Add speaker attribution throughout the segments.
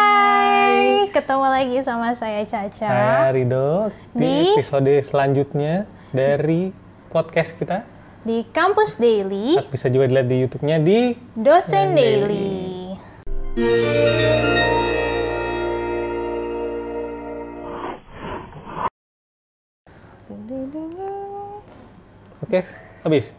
Speaker 1: Hai, ketemu lagi sama saya Caca
Speaker 2: Saya Rido
Speaker 1: Di-
Speaker 2: di episode selanjutnya dari podcast kita.
Speaker 1: di Kampus Daily,
Speaker 2: Bisa juga dilihat di YouTube-nya di
Speaker 1: Dosen
Speaker 2: Daily.
Speaker 1: Daily.
Speaker 2: Oke, habis.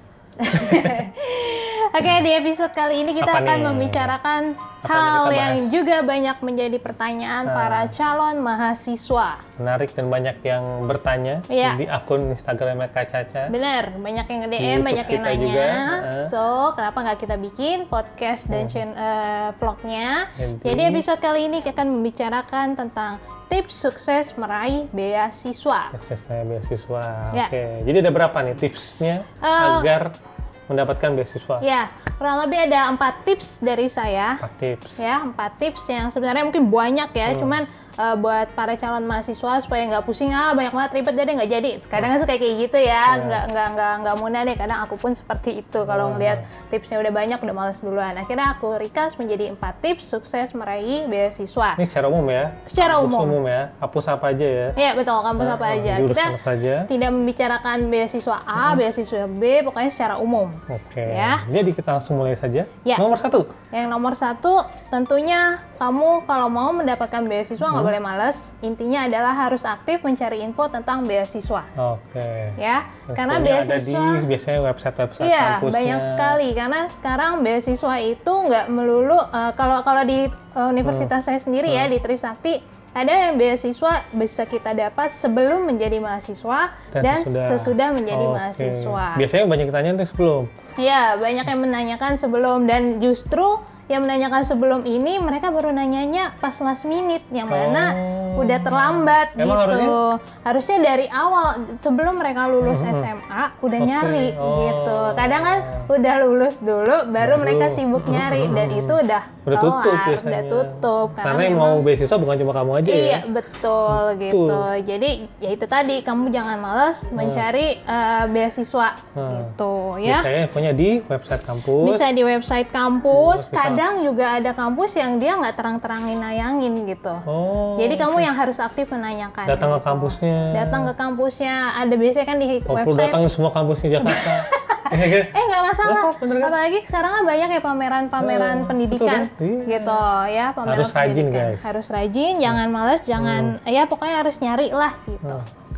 Speaker 1: Oke, di episode kali ini kita
Speaker 2: Apa
Speaker 1: akan
Speaker 2: nih?
Speaker 1: membicarakan
Speaker 2: Apa yang
Speaker 1: hal
Speaker 2: kita bahas? Ah.
Speaker 1: yang juga banyak menjadi pertanyaan para calon mahasiswa.
Speaker 2: Menarik dan banyak yang bertanya
Speaker 1: Iya.
Speaker 2: di akun Instagramnya Kak Caca.
Speaker 1: Bener, banyak yang nge-DM,
Speaker 2: YouTube
Speaker 1: banyak yang
Speaker 2: Gitu, kita
Speaker 1: nanya.
Speaker 2: juga, Ah. heeh.
Speaker 1: So, kenapa nggak kita bikin podcast
Speaker 2: Hmm.
Speaker 1: dan channel eh, vlognya?
Speaker 2: Nanti.
Speaker 1: Jadi episode kali ini kita akan membicarakan tentang tips sukses meraih beasiswa.
Speaker 2: Akses saya beasiswa.
Speaker 1: Iya.
Speaker 2: Oke, jadi ada berapa nih tipsnya
Speaker 1: Eh,
Speaker 2: agar mendapatkan beasiswa?
Speaker 1: Ya, kurang lebih ada empat tips dari saya.
Speaker 2: Empat tips.
Speaker 1: Ya, empat tips yang sebenarnya mungkin banyak ya, cuman eh, buat para calon mahasiswa supaya nggak pusing ah banyak banget ribet jadi nggak jadi. Kadang kan suka kayak gitu ya, nggak nggak nggak nggak muna deh. Kadang aku pun seperti itu kalau ngelihat tipsnya udah banyak udah males duluan. Akhirnya aku rikas menjadi empat tips sukses meraih beasiswa.
Speaker 2: Ini secara umum ya.
Speaker 1: Secara
Speaker 2: Kampus
Speaker 1: umum.
Speaker 2: ya. Hapus apa aja ya.
Speaker 1: Iya betul kampus apa aja.
Speaker 2: Jurusan
Speaker 1: Kita
Speaker 2: apa aja.
Speaker 1: tidak membicarakan beasiswa A, beasiswa B, pokoknya secara umum.
Speaker 2: Oke.
Speaker 1: Ya.
Speaker 2: Jadi kita langsung mulai saja.
Speaker 1: Ya.
Speaker 2: Nomor satu.
Speaker 1: Yang nomor satu, tentunya kamu kalau mau mendapatkan beasiswa nggak
Speaker 2: Hmm.
Speaker 1: boleh males. Intinya adalah harus aktif mencari info tentang beasiswa,
Speaker 2: Oke.
Speaker 1: ya. Karena
Speaker 2: Infonya Nah, ada di
Speaker 1: beasiswa,
Speaker 2: biasanya website-website
Speaker 1: iya
Speaker 2: kampusnya.
Speaker 1: banyak sekali. Karena sekarang beasiswa itu nggak melulu. eh, kalau kalau di eh, universitas saya sendiri
Speaker 2: Hmm.
Speaker 1: ya di Trisakti ada yang beasiswa bisa kita dapat sebelum menjadi mahasiswa dan, sesudah, menjadi
Speaker 2: Oke.
Speaker 1: mahasiswa.
Speaker 2: Biasanya banyak yang tanya tuh sebelum.
Speaker 1: Ya, banyak yang menanyakan sebelum dan justru yang menanyakan sebelum ini mereka baru nanyanya pas last minute yang mana
Speaker 2: Oh.
Speaker 1: udah terlambat
Speaker 2: Emang
Speaker 1: gitu. Harusnya? dari awal sebelum mereka lulus SMA udah
Speaker 2: Oke.
Speaker 1: nyari
Speaker 2: Oh.
Speaker 1: gitu. Kadang kan udah lulus dulu baru mereka sibuk nyari dan itu udah
Speaker 2: Udah tutup
Speaker 1: kelar, Oh,
Speaker 2: biasanya.
Speaker 1: ah, udah tutup
Speaker 2: Karena yang mau beasiswa bukan cuma kamu aja ya.
Speaker 1: Iya betul gitu.
Speaker 2: Betul.
Speaker 1: Jadi ya itu tadi kamu jangan males
Speaker 2: Nah.
Speaker 1: mencari eh, beasiswa
Speaker 2: Hmm.
Speaker 1: gitu ya.
Speaker 2: Biasanya infonya di website kampus.
Speaker 1: Bisa di website kampus,
Speaker 2: Bisa.
Speaker 1: kadang juga ada kampus yang dia nggak terang-terangin nayangin gitu.
Speaker 2: Oh.
Speaker 1: Jadi kamu yang harus aktif menanyakan.
Speaker 2: datang ke
Speaker 1: gitu.
Speaker 2: kampusnya.
Speaker 1: Datang ke kampusnya, ada biasanya kan di
Speaker 2: Oh, perlu
Speaker 1: website.
Speaker 2: datang ke semua kampus di Jakarta. Iya kan?
Speaker 1: Eh nggak masalah,
Speaker 2: Nggak apa-apa, bener kan?
Speaker 1: apalagi sekarang kan banyak ya pameran-pameran
Speaker 2: Oh,
Speaker 1: pendidikan
Speaker 2: betul kan? Iya.
Speaker 1: gitu ya. Pameran
Speaker 2: Harus rajin,
Speaker 1: pendidikan.
Speaker 2: guys. Iya. Hmm.
Speaker 1: Harus rajin, jangan males, jangan ya pokoknya harus nyari lah gitu.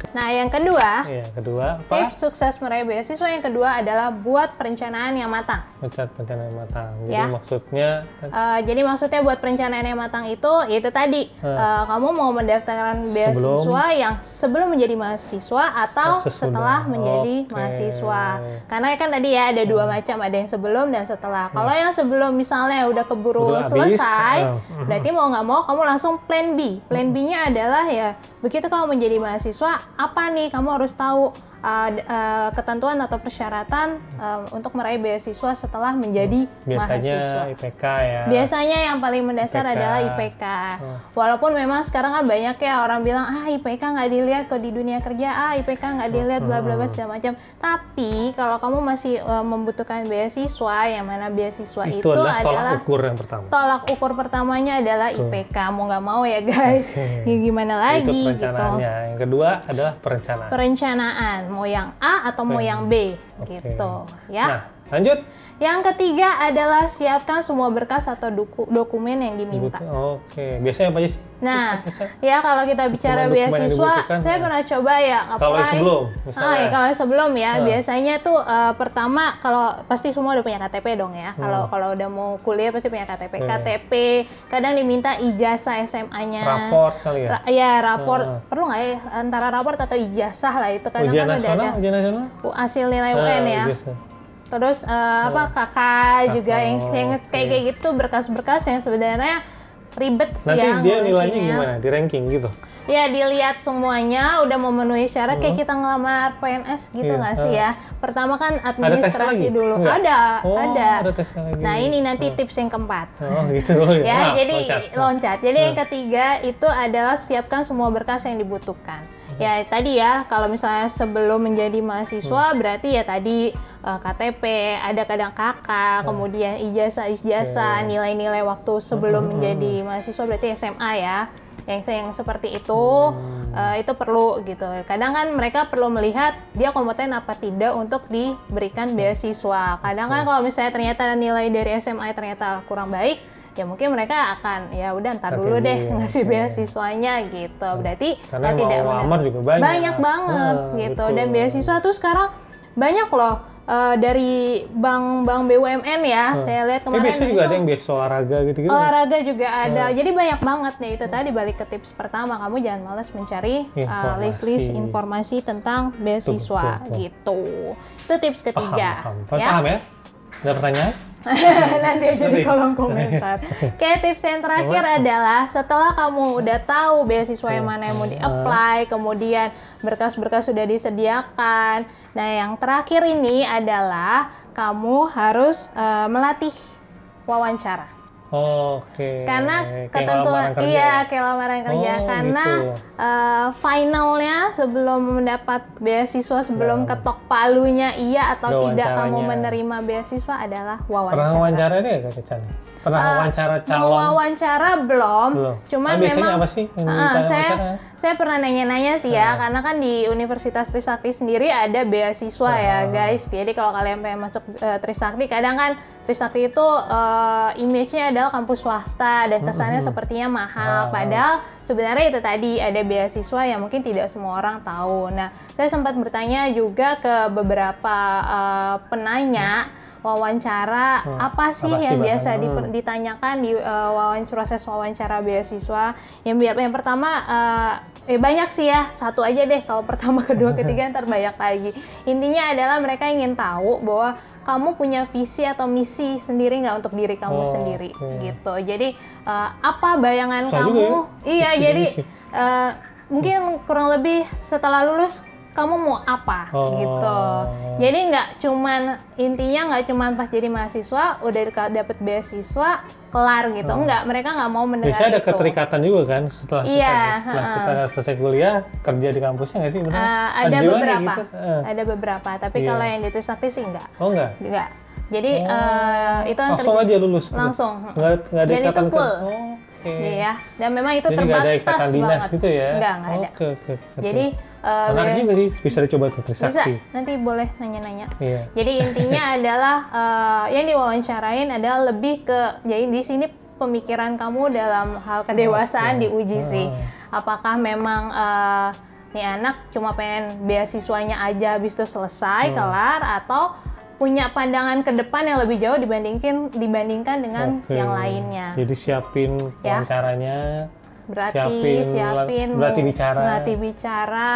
Speaker 1: Nah yang kedua,
Speaker 2: Iya, kedua Ah, apa?
Speaker 1: tips sukses meraih beasiswa yang kedua adalah buat perencanaan yang matang.
Speaker 2: Mecat pencana yang matang. Jadi
Speaker 1: Ya.
Speaker 2: maksudnya kan
Speaker 1: Eh, jadi maksudnya buat perencanaan yang matang itu, itu tadi eh, kamu mau mendaftarkan beasiswa
Speaker 2: Sebelum-
Speaker 1: yang sebelum menjadi mahasiswa atau
Speaker 2: Sesudah.
Speaker 1: setelah menjadi
Speaker 2: Oke. Hmm.
Speaker 1: mahasiswa. Karena kan tadi ya ada dua macam, ada yang sebelum dan setelah. Kalau yang sebelum misalnya udah keburu
Speaker 2: Udah habis,
Speaker 1: selesai,
Speaker 2: eh, Hmm.
Speaker 1: berarti mau nggak mau kamu langsung plan B. Plan B-nya adalah ya begitu kamu menjadi mahasiswa, apa nih kamu harus tahu eh, d- eh, ketentuan atau persyaratan eh, untuk meraih beasiswa setelah menjadi
Speaker 2: Hmm. biasanya
Speaker 1: mahasiswa.
Speaker 2: IPK ya.
Speaker 1: Biasanya yang paling mendasar
Speaker 2: IPK.
Speaker 1: adalah IPK.
Speaker 2: Oh.
Speaker 1: Walaupun memang sekarang kan banyak ya orang bilang ah IPK nggak dilihat kok di dunia kerja, ah IPK nggak dilihat bla bla bla segala macam. Tapi kalau kamu masih eh, membutuhkan beasiswa, yang mana beasiswa Oh, itu,
Speaker 2: itu, adalah tolak
Speaker 1: adalah
Speaker 2: ukur yang pertama.
Speaker 1: tolak ukur pertamanya adalah IPK. Mau nggak mau ya guys,
Speaker 2: Oke.
Speaker 1: ya gimana
Speaker 2: itu
Speaker 1: lagi gitu.
Speaker 2: perencanaannya. Yang kedua adalah perencanaan.
Speaker 1: Perencanaan mau yang A atau mau yang B
Speaker 2: Oke.
Speaker 1: gitu ya.
Speaker 2: Nah, lanjut.
Speaker 1: Yang ketiga adalah siapkan semua berkas atau doku- dokumen yang diminta.
Speaker 2: Butuh- Oke, biasanya apa aja sih?
Speaker 1: Nah,
Speaker 2: Caca?
Speaker 1: ya kalau kita bicara
Speaker 2: Iya, Dokumen-dokumen yang
Speaker 1: beasiswa,
Speaker 2: dibutuhkan,
Speaker 1: saya
Speaker 2: ya.
Speaker 1: pernah coba ya apply.
Speaker 2: Kalau yang sebelum, misalnya.
Speaker 1: Ah, ya, kalau yang sebelum ya,
Speaker 2: Ah.
Speaker 1: biasanya tuh eh, pertama kalau pasti semua udah punya KTP dong ya.
Speaker 2: Nah.
Speaker 1: Kalau kalau udah mau kuliah pasti punya KTP.
Speaker 2: Iya.
Speaker 1: KTP, kadang diminta ijazah SMA-nya.
Speaker 2: Raport kali ya?
Speaker 1: Ra- ya, rapor.
Speaker 2: Ah.
Speaker 1: Perlu nggak ya antara rapor atau ijazah lah itu kadang
Speaker 2: ujian
Speaker 1: kan udah
Speaker 2: nasional,
Speaker 1: ada
Speaker 2: ujian nasional?
Speaker 1: U- hasil nilai
Speaker 2: Ah,
Speaker 1: UN ya.
Speaker 2: ijazah. Nah.
Speaker 1: Terus eh, apa kakak juga yang saya inget kayak
Speaker 2: oke.
Speaker 1: kayak gitu berkas-berkas yang sebenarnya ribet sih
Speaker 2: Nanti
Speaker 1: ya
Speaker 2: dia nilainya
Speaker 1: ngurusinnya.
Speaker 2: gimana? Di ranking gitu?
Speaker 1: Ya dilihat semuanya udah memenuhi syarat kayak kita ngelamar PNS gitu
Speaker 2: Hmm. Iya,
Speaker 1: nggak sih ya. Pertama kan
Speaker 2: lagi?
Speaker 1: administrasi dulu.
Speaker 2: Enggak?
Speaker 1: Ada,
Speaker 2: Oh,
Speaker 1: Ah, ada.
Speaker 2: ada tesnya lagi.
Speaker 1: Nah, ini nanti tips yang keempat.
Speaker 2: Oh gitu. Oh, iya.
Speaker 1: Ya,
Speaker 2: Nah,
Speaker 1: jadi
Speaker 2: loncat.
Speaker 1: loncat. Jadi yang ketiga itu adalah siapkan semua berkas yang dibutuhkan. ya tadi ya kalau misalnya sebelum menjadi mahasiswa
Speaker 2: Hmm.
Speaker 1: berarti ya tadi eh, KTP ada kadang KK kemudian ijazah
Speaker 2: Iya,
Speaker 1: ijazah nilai-nilai waktu sebelum
Speaker 2: Hmm.
Speaker 1: menjadi mahasiswa berarti SMA ya yang yang seperti itu eh,
Speaker 2: Hmm.
Speaker 1: itu perlu gitu kadang kan mereka perlu melihat dia kompeten apa tidak untuk diberikan
Speaker 2: Hmm.
Speaker 1: beasiswa kadang kan kalau misalnya ternyata nilai dari SMA ternyata kurang baik ya mungkin mereka akan ya udah ntar
Speaker 2: Oke,
Speaker 1: dulu deh
Speaker 2: iya,
Speaker 1: ngasih
Speaker 2: iya.
Speaker 1: beasiswanya gitu berarti ya
Speaker 2: Karena yang mau
Speaker 1: benar.
Speaker 2: ngelamar juga banyak.
Speaker 1: banget
Speaker 2: Ah,
Speaker 1: gitu
Speaker 2: betul.
Speaker 1: dan beasiswa tuh sekarang banyak loh eh, dari bank-bank BUMN ya saya lihat kemarin
Speaker 2: Tapi biasanya juga
Speaker 1: itu Oh,
Speaker 2: ada yang Eh, biasa olahraga gitu-gitu. kan?
Speaker 1: olahraga juga ada
Speaker 2: Iya.
Speaker 1: jadi banyak banget nih itu tadi balik ke tips pertama kamu jangan malas mencari eh,
Speaker 2: Informasi.
Speaker 1: list-list informasi tentang beasiswa
Speaker 2: betul, Ah, betul.
Speaker 1: gitu itu tips
Speaker 2: paham,
Speaker 1: ketiga
Speaker 2: paham. Paham ya? Ada pertanyaan?
Speaker 1: Nanti aja di
Speaker 2: Sorry.
Speaker 1: kolom komentar. Oke, tips yang terakhir adalah setelah kamu udah tahu beasiswa yang mana yang
Speaker 2: Ah.
Speaker 1: mau di-apply, kemudian berkas-berkas sudah disediakan. Nah, yang terakhir ini adalah kamu harus eh, melatih wawancara.
Speaker 2: Oke.
Speaker 1: Karena
Speaker 2: Kayak
Speaker 1: ketentuan
Speaker 2: lamaran kerja
Speaker 1: iya
Speaker 2: ya?
Speaker 1: kayak lamaran kerja
Speaker 2: Oh,
Speaker 1: karena
Speaker 2: gitu.
Speaker 1: eh, finalnya sebelum mendapat beasiswa sebelum ketok palunya iya
Speaker 2: Iya. Ada
Speaker 1: atau tidak kamu
Speaker 2: wawancaranya.
Speaker 1: menerima beasiswa adalah
Speaker 2: Pernah wawancara deh Kak Kecan?
Speaker 1: Eh,
Speaker 2: Pernah wawancara
Speaker 1: Mau
Speaker 2: calon?
Speaker 1: wawancara belum,
Speaker 2: Belum.
Speaker 1: cuman
Speaker 2: Ah, biasanya
Speaker 1: memang
Speaker 2: apa sih yang
Speaker 1: Ah,
Speaker 2: ditanya
Speaker 1: saya
Speaker 2: wawancara? Ah.
Speaker 1: saya pernah nanya-nanya sih ya, karena kan di Universitas Trisakti sendiri ada beasiswa ya
Speaker 2: Ah.
Speaker 1: guys. Jadi kalau kalian pengen masuk eh, Trisakti, kadang kan Trisakti itu eh, image-nya adalah kampus swasta dan kesannya sepertinya mahal.
Speaker 2: Ah.
Speaker 1: Padahal sebenarnya itu tadi ada beasiswa yang mungkin tidak semua orang tahu. Nah, saya sempat bertanya juga ke beberapa eh, penanya wawancara
Speaker 2: Hmm.
Speaker 1: apa sih
Speaker 2: Apa sih
Speaker 1: yang
Speaker 2: bahannya?
Speaker 1: biasa diper-
Speaker 2: Hmm.
Speaker 1: ditanyakan di eh, wawan- proses wawancara beasiswa yang biar yang pertama eh, eh, banyak sih ya satu aja deh kalau pertama kedua ketiga ntar banyak lagi intinya adalah mereka ingin tahu bahwa kamu punya visi atau misi sendiri nggak untuk diri kamu
Speaker 2: Oh,
Speaker 1: sendiri
Speaker 2: oke.
Speaker 1: gitu jadi eh, apa bayangan
Speaker 2: Susah
Speaker 1: kamu
Speaker 2: juga
Speaker 1: iya
Speaker 2: ya, visi dan
Speaker 1: jadi
Speaker 2: misi.
Speaker 1: eh, mungkin kurang lebih setelah lulus kamu mau apa
Speaker 2: Oh.
Speaker 1: gitu jadi nggak cuman intinya nggak cuman pas jadi mahasiswa udah deka- dapet beasiswa kelar gitu nggak mereka nggak mau mendengar
Speaker 2: Oh. Biasanya ada
Speaker 1: itu.
Speaker 2: keterikatan juga kan setelah
Speaker 1: Iya,
Speaker 2: kita setelah
Speaker 1: heeh.
Speaker 2: kita selesai kuliah kerja di kampusnya nggak sih
Speaker 1: Eh,
Speaker 2: benar?
Speaker 1: ada
Speaker 2: juga nih
Speaker 1: beberapa,
Speaker 2: kan? gitu. Eh,
Speaker 1: ada beberapa. Tapi
Speaker 2: Iya.
Speaker 1: kalau yang di Trisakti sih nggak,
Speaker 2: Oh enggak?
Speaker 1: nggak. Jadi
Speaker 2: Oh.
Speaker 1: eh, itu yang
Speaker 2: Langsung
Speaker 1: ter-
Speaker 2: aja lulus. gitu?
Speaker 1: langsung.
Speaker 2: Nggak nggak ada
Speaker 1: Dan itu
Speaker 2: ikatan ke-
Speaker 1: full.
Speaker 2: Oh, Oke.
Speaker 1: Iya, ya. Dan memang itu
Speaker 2: Jadi nggak ada
Speaker 1: terbatas
Speaker 2: ikatan dinas
Speaker 1: banget.
Speaker 2: gitu ya?
Speaker 1: Nggak, nggak ada.
Speaker 2: Oke oke. oke.
Speaker 1: Jadi eh,
Speaker 2: menarik
Speaker 1: beres-
Speaker 2: juga sih bisa dicoba tuh
Speaker 1: bisa
Speaker 2: Trisakti.
Speaker 1: nanti boleh nanya-nanya.
Speaker 2: Iya.
Speaker 1: Jadi intinya adalah eh, yang diwawancarain adalah lebih ke jadi di sini pemikiran kamu dalam hal kedewasaan diuji sih.
Speaker 2: Ah.
Speaker 1: Apakah memang eh, nih anak cuma pengen beasiswanya aja habis itu
Speaker 2: Hmm.
Speaker 1: selesai kelar atau punya pandangan ke depan yang lebih jauh dibandingkan dibandingkan dengan
Speaker 2: Oke.
Speaker 1: yang lainnya.
Speaker 2: Jadi siapin
Speaker 1: Ya.
Speaker 2: wawancaranya.
Speaker 1: berarti
Speaker 2: Siapin,
Speaker 1: siapin
Speaker 2: berarti
Speaker 1: mu-
Speaker 2: bicara. Hmm.
Speaker 1: berarti bicara,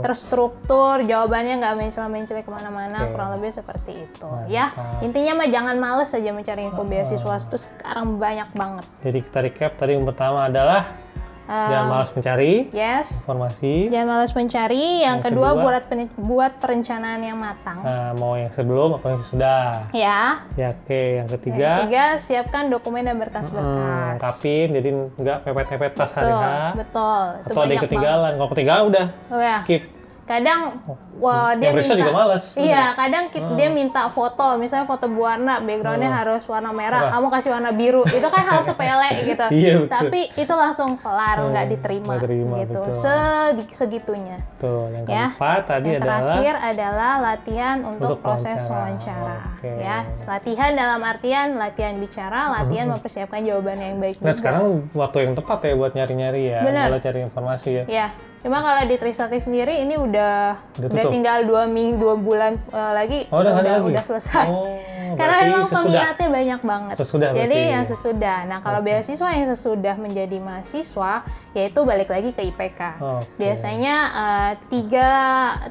Speaker 1: terstruktur jawabannya nggak mencela-mencela kemana-mana
Speaker 2: Oke.
Speaker 1: kurang lebih seperti itu
Speaker 2: Mantap.
Speaker 1: ya intinya mah jangan males aja mencari info beasiswa itu sekarang banyak banget
Speaker 2: Jadi kita recap tadi yang pertama adalah
Speaker 1: Eh,
Speaker 2: jangan malas mencari
Speaker 1: yes
Speaker 2: informasi.
Speaker 1: jangan males mencari yang,
Speaker 2: Yang
Speaker 1: kedua,
Speaker 2: kedua,
Speaker 1: buat pen- buat perencanaan yang matang
Speaker 2: Nah, mau yang sebelum atau yang sesudah.
Speaker 1: ya
Speaker 2: Ya, oke. Yang
Speaker 1: Yang
Speaker 2: ketiga,
Speaker 1: ketiga siapkan dokumen dan
Speaker 2: hmm,
Speaker 1: berkas-berkas
Speaker 2: tapin jadi nggak pepet-pepet
Speaker 1: betul
Speaker 2: tas hari-hari.
Speaker 1: betul itu
Speaker 2: Atau ada yang
Speaker 1: banyak banget
Speaker 2: ketinggalan. Kalau ketinggalan udah
Speaker 1: Oh, ya.
Speaker 2: skip.
Speaker 1: kadang wah, dia
Speaker 2: Oh. Hmm. Yang periksa
Speaker 1: minta-
Speaker 2: juga males.
Speaker 1: iya kadang ki- dia
Speaker 2: Hmm.
Speaker 1: minta foto misalnya foto berwarna backgroundnya harus warna merah
Speaker 2: Wah.
Speaker 1: kamu kasih warna biru itu kan hal sepele gitu
Speaker 2: Iya, betul.
Speaker 1: tapi itu langsung kelar
Speaker 2: Hmm,
Speaker 1: nggak diterima
Speaker 2: nggak terima,
Speaker 1: gitu
Speaker 2: betul.
Speaker 1: Sedi- segitunya
Speaker 2: Tuh, yang
Speaker 1: Ya.
Speaker 2: keempat tadi
Speaker 1: yang
Speaker 2: adalah
Speaker 1: terakhir adalah latihan untuk,
Speaker 2: Untuk
Speaker 1: proses wawancara,
Speaker 2: wawancara. Oke.
Speaker 1: ya latihan dalam artian latihan bicara latihan
Speaker 2: Hmm.
Speaker 1: mempersiapkan jawaban yang baik
Speaker 2: Nah,
Speaker 1: juga.
Speaker 2: sekarang waktu yang tepat ya buat nyari-nyari ya.
Speaker 1: Benar.
Speaker 2: Kalau cari informasi ya.
Speaker 1: Ya, cuma kalau di Trisakti sendiri ini udah
Speaker 2: Udah
Speaker 1: udah,
Speaker 2: tutup.
Speaker 1: tinggal dua minggu dua bulan eh, lagi
Speaker 2: Oh, udah nggak ada lagi ya?
Speaker 1: udah selesai.
Speaker 2: Oh,
Speaker 1: Karena
Speaker 2: berarti
Speaker 1: memang
Speaker 2: sesudah.
Speaker 1: peminatnya banyak banget.
Speaker 2: Sesudah
Speaker 1: Jadi
Speaker 2: berarti. ya?
Speaker 1: yang sesudah. Nah kalau beasiswa yang sesudah menjadi mahasiswa, yaitu balik lagi ke IPK.
Speaker 2: Oh, Oke.
Speaker 1: Biasanya eh, tiga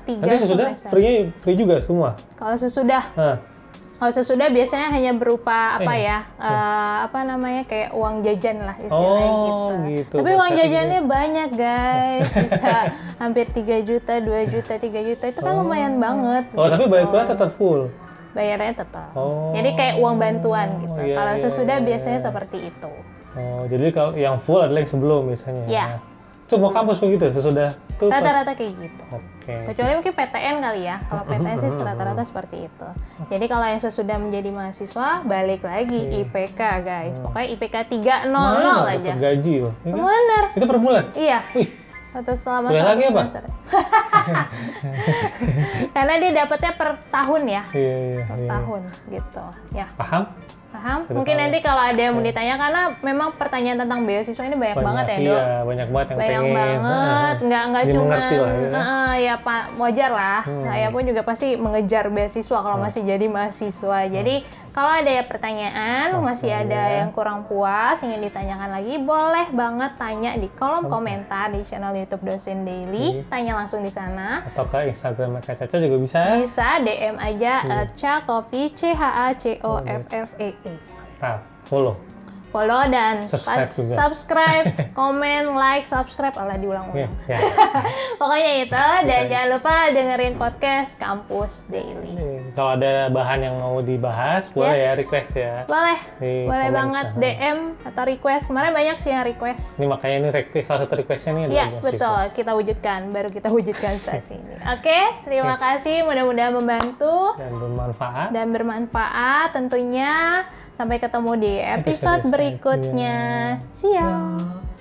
Speaker 1: tiga
Speaker 2: Nanti sesudah
Speaker 1: semester.
Speaker 2: free free juga semua.
Speaker 1: Kalau sesudah
Speaker 2: Nah,
Speaker 1: kalau sesudah biasanya hanya berupa apa
Speaker 2: Eh,
Speaker 1: ya? eh, apa namanya kayak uang jajan lah istilahnya
Speaker 2: Oh, gitu.
Speaker 1: gitu. Tapi uang
Speaker 2: Berarti
Speaker 1: jajannya banyak, guys. Bisa hampir 3 juta, 2 juta, 3 juta. Itu kan lumayan banget.
Speaker 2: oh tapi
Speaker 1: gitu.
Speaker 2: bayar kuliah tetap full.
Speaker 1: bayarnya tetap.
Speaker 2: Oh.
Speaker 1: Jadi kayak uang bantuan gitu.
Speaker 2: Iya,
Speaker 1: kalau
Speaker 2: iya,
Speaker 1: sesudah
Speaker 2: iya,
Speaker 1: biasanya
Speaker 2: iya.
Speaker 1: seperti itu.
Speaker 2: Oh, jadi kalau yang full adalah yang sebelum biasanya.
Speaker 1: Iya.
Speaker 2: ya. semua kampus begitu sesudah tuh Pak?
Speaker 1: Rata-rata kayak gitu.
Speaker 2: oke
Speaker 1: Kecuali mungkin PTN kali ya. Kalau PTN sih rata-rata seperti itu. Jadi kalau yang sesudah menjadi mahasiswa balik lagi IPK guys. Pokoknya IPK 300
Speaker 2: Mahal
Speaker 1: aja.
Speaker 2: Iya. Hmm. dapat gaji loh Ini kan-
Speaker 1: Bener.
Speaker 2: itu per bulan
Speaker 1: Iya.
Speaker 2: wih
Speaker 1: Atau selama
Speaker 2: Kuliah
Speaker 1: satu
Speaker 2: lagi apa?
Speaker 1: semester. Karena dia dapatnya per tahun ya.
Speaker 2: iya iya
Speaker 1: Per
Speaker 2: iya.
Speaker 1: tahun gitu. Ya.
Speaker 2: paham
Speaker 1: Paham?
Speaker 2: Satu
Speaker 1: Mungkin
Speaker 2: tahun.
Speaker 1: nanti kalau ada yang mau ditanya karena memang pertanyaan tentang beasiswa ini banyak, banget ya, Dok.
Speaker 2: iya banyak banget yang
Speaker 1: Banyak
Speaker 2: pengen
Speaker 1: banget,
Speaker 2: Ah,
Speaker 1: nggak nggak cuma
Speaker 2: dimengerti lah ya. Hmm.
Speaker 1: ya pak wajar lah. Saya pun juga pasti mengejar beasiswa kalau
Speaker 2: Nah.
Speaker 1: masih jadi mahasiswa.
Speaker 2: Hmm.
Speaker 1: Jadi kalau ada ya pertanyaan, masih ada yang kurang puas ingin ditanyakan lagi, boleh banget tanya di kolom komentar di channel YouTube Dosen Daily. Tanya langsung di sana.
Speaker 2: atau ke Instagram Kak Caca juga bisa
Speaker 1: Bisa DM aja
Speaker 2: Iya.
Speaker 1: at @cacofi c h a c o f f e e.
Speaker 2: nah, follow
Speaker 1: Follow dan
Speaker 2: Subscribe
Speaker 1: pas-
Speaker 2: juga.
Speaker 1: subscribe, komen, like, subscribe, Allah diulang-ulang.
Speaker 2: Iya, ya.
Speaker 1: Pokoknya itu, dan jangan lupa dengerin podcast Kampus Daily.
Speaker 2: Iya. kalau ada bahan yang mau dibahas boleh
Speaker 1: Yes.
Speaker 2: ya request ya
Speaker 1: Boleh,
Speaker 2: Di
Speaker 1: boleh
Speaker 2: komen.
Speaker 1: banget DM atau request. Kemarin banyak sih yang request.
Speaker 2: ini makanya ini request salah satu requestnya nih
Speaker 1: Iya,
Speaker 2: dari mahasiswa.
Speaker 1: betul. Kita wujudkan, baru kita wujudkan saat ini. Oke, terima kasih. Mudah-mudahan membantu
Speaker 2: dan bermanfaat
Speaker 1: dan bermanfaat tentunya. Sampai ketemu di
Speaker 2: Episode
Speaker 1: episode berikutnya. See ya.